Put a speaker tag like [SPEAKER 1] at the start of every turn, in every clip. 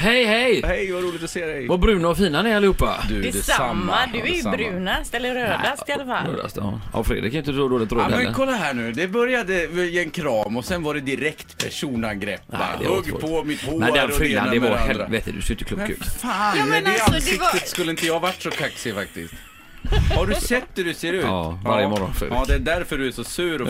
[SPEAKER 1] Hej hej!
[SPEAKER 2] Hej, vad roligt att se dig!
[SPEAKER 1] Vad bruna och fina ni är allihopa.
[SPEAKER 2] Du,
[SPEAKER 3] Detsamma, du är ju
[SPEAKER 2] detsamma.
[SPEAKER 3] brunast eller rödast i alla fall.
[SPEAKER 1] Rödast, ja. ja, Fredrik är inte så dåligt
[SPEAKER 2] Ja,
[SPEAKER 1] råd
[SPEAKER 2] men
[SPEAKER 1] heller.
[SPEAKER 2] kolla här nu, det började i en kram och sen var det direkt personangrepp. va?
[SPEAKER 1] Nej, det var
[SPEAKER 2] Hugg
[SPEAKER 1] svårt.
[SPEAKER 2] på mitt hår
[SPEAKER 1] Men
[SPEAKER 2] och
[SPEAKER 1] den
[SPEAKER 2] ena
[SPEAKER 1] frillan, det
[SPEAKER 2] med
[SPEAKER 1] var
[SPEAKER 2] andra.
[SPEAKER 1] helvete, du ser inte klok
[SPEAKER 2] Men
[SPEAKER 1] ut.
[SPEAKER 2] fan,
[SPEAKER 3] Ja, men
[SPEAKER 2] med det
[SPEAKER 3] alltså, det
[SPEAKER 2] ansiktet
[SPEAKER 3] var-
[SPEAKER 2] skulle inte jag varit så kaxig faktiskt. Har du sett hur du ser ut?
[SPEAKER 1] Ja, varje morgon, Fredrik.
[SPEAKER 2] Ja, det är därför du är så sur och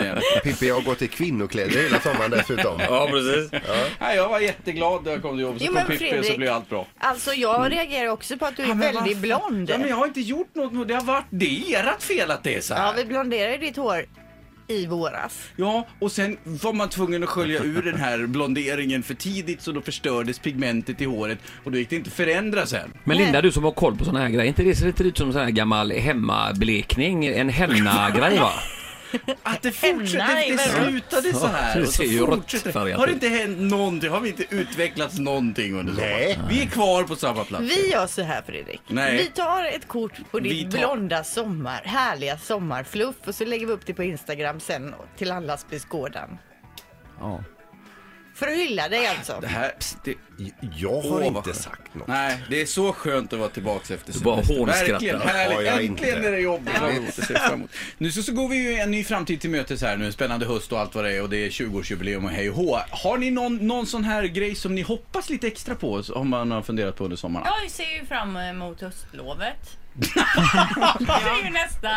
[SPEAKER 2] igen.
[SPEAKER 4] Pippi har gått i kvinnokläder hela sommaren dessutom.
[SPEAKER 2] Ja, precis. Nej, jag var jätteglad när jag kom till jobbet, så
[SPEAKER 3] Jo,
[SPEAKER 2] kom
[SPEAKER 3] men
[SPEAKER 2] Pippi och så
[SPEAKER 3] Fredrik-
[SPEAKER 2] blev allt bra.
[SPEAKER 3] Alltså jag reagerar också på att du är
[SPEAKER 2] Mm. men
[SPEAKER 3] väldigt
[SPEAKER 2] vad
[SPEAKER 3] blond.
[SPEAKER 2] Ja, men jag har inte gjort något, mot- det har varit, det är ert fel att det är så här.
[SPEAKER 3] Ja, vi blonderade ditt hår i våras.
[SPEAKER 2] Ja, och sen var man tvungen att skölja ur den här blonderingen för tidigt så då förstördes pigmentet i håret och då gick det inte att förändra sen.
[SPEAKER 1] Men Linda, du som har koll på såna här grejer, inte det ser lite ut som sån här gammal hemmablekning? En henna-grej va?
[SPEAKER 2] Att det fortsatte,
[SPEAKER 3] Henna
[SPEAKER 2] det,
[SPEAKER 3] är
[SPEAKER 2] det
[SPEAKER 3] väl
[SPEAKER 2] slutade så
[SPEAKER 1] Ja,
[SPEAKER 2] här
[SPEAKER 1] det
[SPEAKER 2] och så
[SPEAKER 1] ser ju
[SPEAKER 2] fortsatte
[SPEAKER 1] råttfärgat
[SPEAKER 2] Har det
[SPEAKER 1] ut.
[SPEAKER 2] inte hänt någonting? Har vi inte utvecklats någonting under
[SPEAKER 4] Nej.
[SPEAKER 2] sommaren? Vi är kvar på samma plats.
[SPEAKER 3] Vi gör så här Fredrik.
[SPEAKER 2] Nej.
[SPEAKER 3] Vi tar ett kort på ditt
[SPEAKER 2] Vi tar-
[SPEAKER 3] blonda sommar, härliga sommarfluff och så lägger vi upp det på Instagram sen till allas beskådan.
[SPEAKER 1] Ja.
[SPEAKER 3] För att hylla dig alltså.
[SPEAKER 2] Det här, det,
[SPEAKER 4] Jag har
[SPEAKER 2] Åh, vad
[SPEAKER 4] inte
[SPEAKER 2] skönt.
[SPEAKER 4] sagt något.
[SPEAKER 2] nej, det är så skönt att vara tillbaka efter
[SPEAKER 1] Du bara hånskrattar.
[SPEAKER 2] Verkligen
[SPEAKER 4] Ja,
[SPEAKER 2] härligt.
[SPEAKER 4] jag är
[SPEAKER 2] Äntligen
[SPEAKER 4] inte.
[SPEAKER 2] är det jobb som man ser fram emot. Nu så, så går vi ju en ny framtid till mötes här nu. Spännande höst och allt vad det är och det är 20-årsjubileum och hej och hå. Har ni någon, någon sån här grej som ni hoppas lite extra på om man har funderat på under sommaren?
[SPEAKER 5] Jag ser ju fram emot höstlovet. det är ju nästa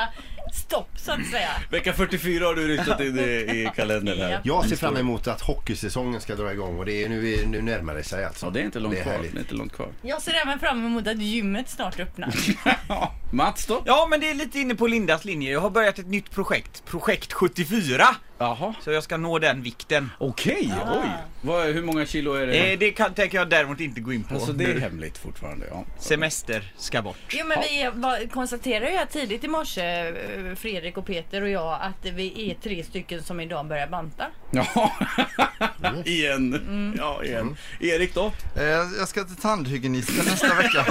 [SPEAKER 5] stopp så att säga.
[SPEAKER 2] Vecka 44 har du ryktat in i, i kalendern här.
[SPEAKER 4] Jag ser fram emot att hockeysäsongen ska dra igång och det är nu, nu närmar det sig alltså.
[SPEAKER 2] Ja, det är inte långt
[SPEAKER 4] det är
[SPEAKER 2] kvar.
[SPEAKER 4] härligt.
[SPEAKER 2] Det är inte långt kvar.
[SPEAKER 5] Jag ser även fram emot att gymmet snart öppnar.
[SPEAKER 2] Mats då?
[SPEAKER 6] Ja, men det är lite inne på Lindas linje. Jag har börjat ett nytt projekt, projekt 74.
[SPEAKER 2] Jaha.
[SPEAKER 6] Så jag ska nå den vikten.
[SPEAKER 2] Okej, oj. Vad, hur många kilo är det?
[SPEAKER 6] Eh, det kan, tänker jag däremot inte gå in på.
[SPEAKER 2] Alltså det är
[SPEAKER 6] nu.
[SPEAKER 2] hemligt fortfarande. Ja.
[SPEAKER 6] Semester ska bort.
[SPEAKER 5] Jo men vi var, konstaterade ju här tidigt i morse, eh, Fredrik och Peter och jag, att vi är tre stycken som idag börjar banta.
[SPEAKER 2] Ja, igen. Ja, igen. Erik då?
[SPEAKER 7] Eh, Jag ska till tandhygienisten nästa vecka.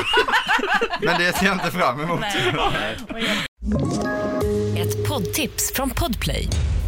[SPEAKER 7] Men det ser jag inte fram emot.
[SPEAKER 5] Nej. Och jag
[SPEAKER 8] Ett poddtips från Podplay.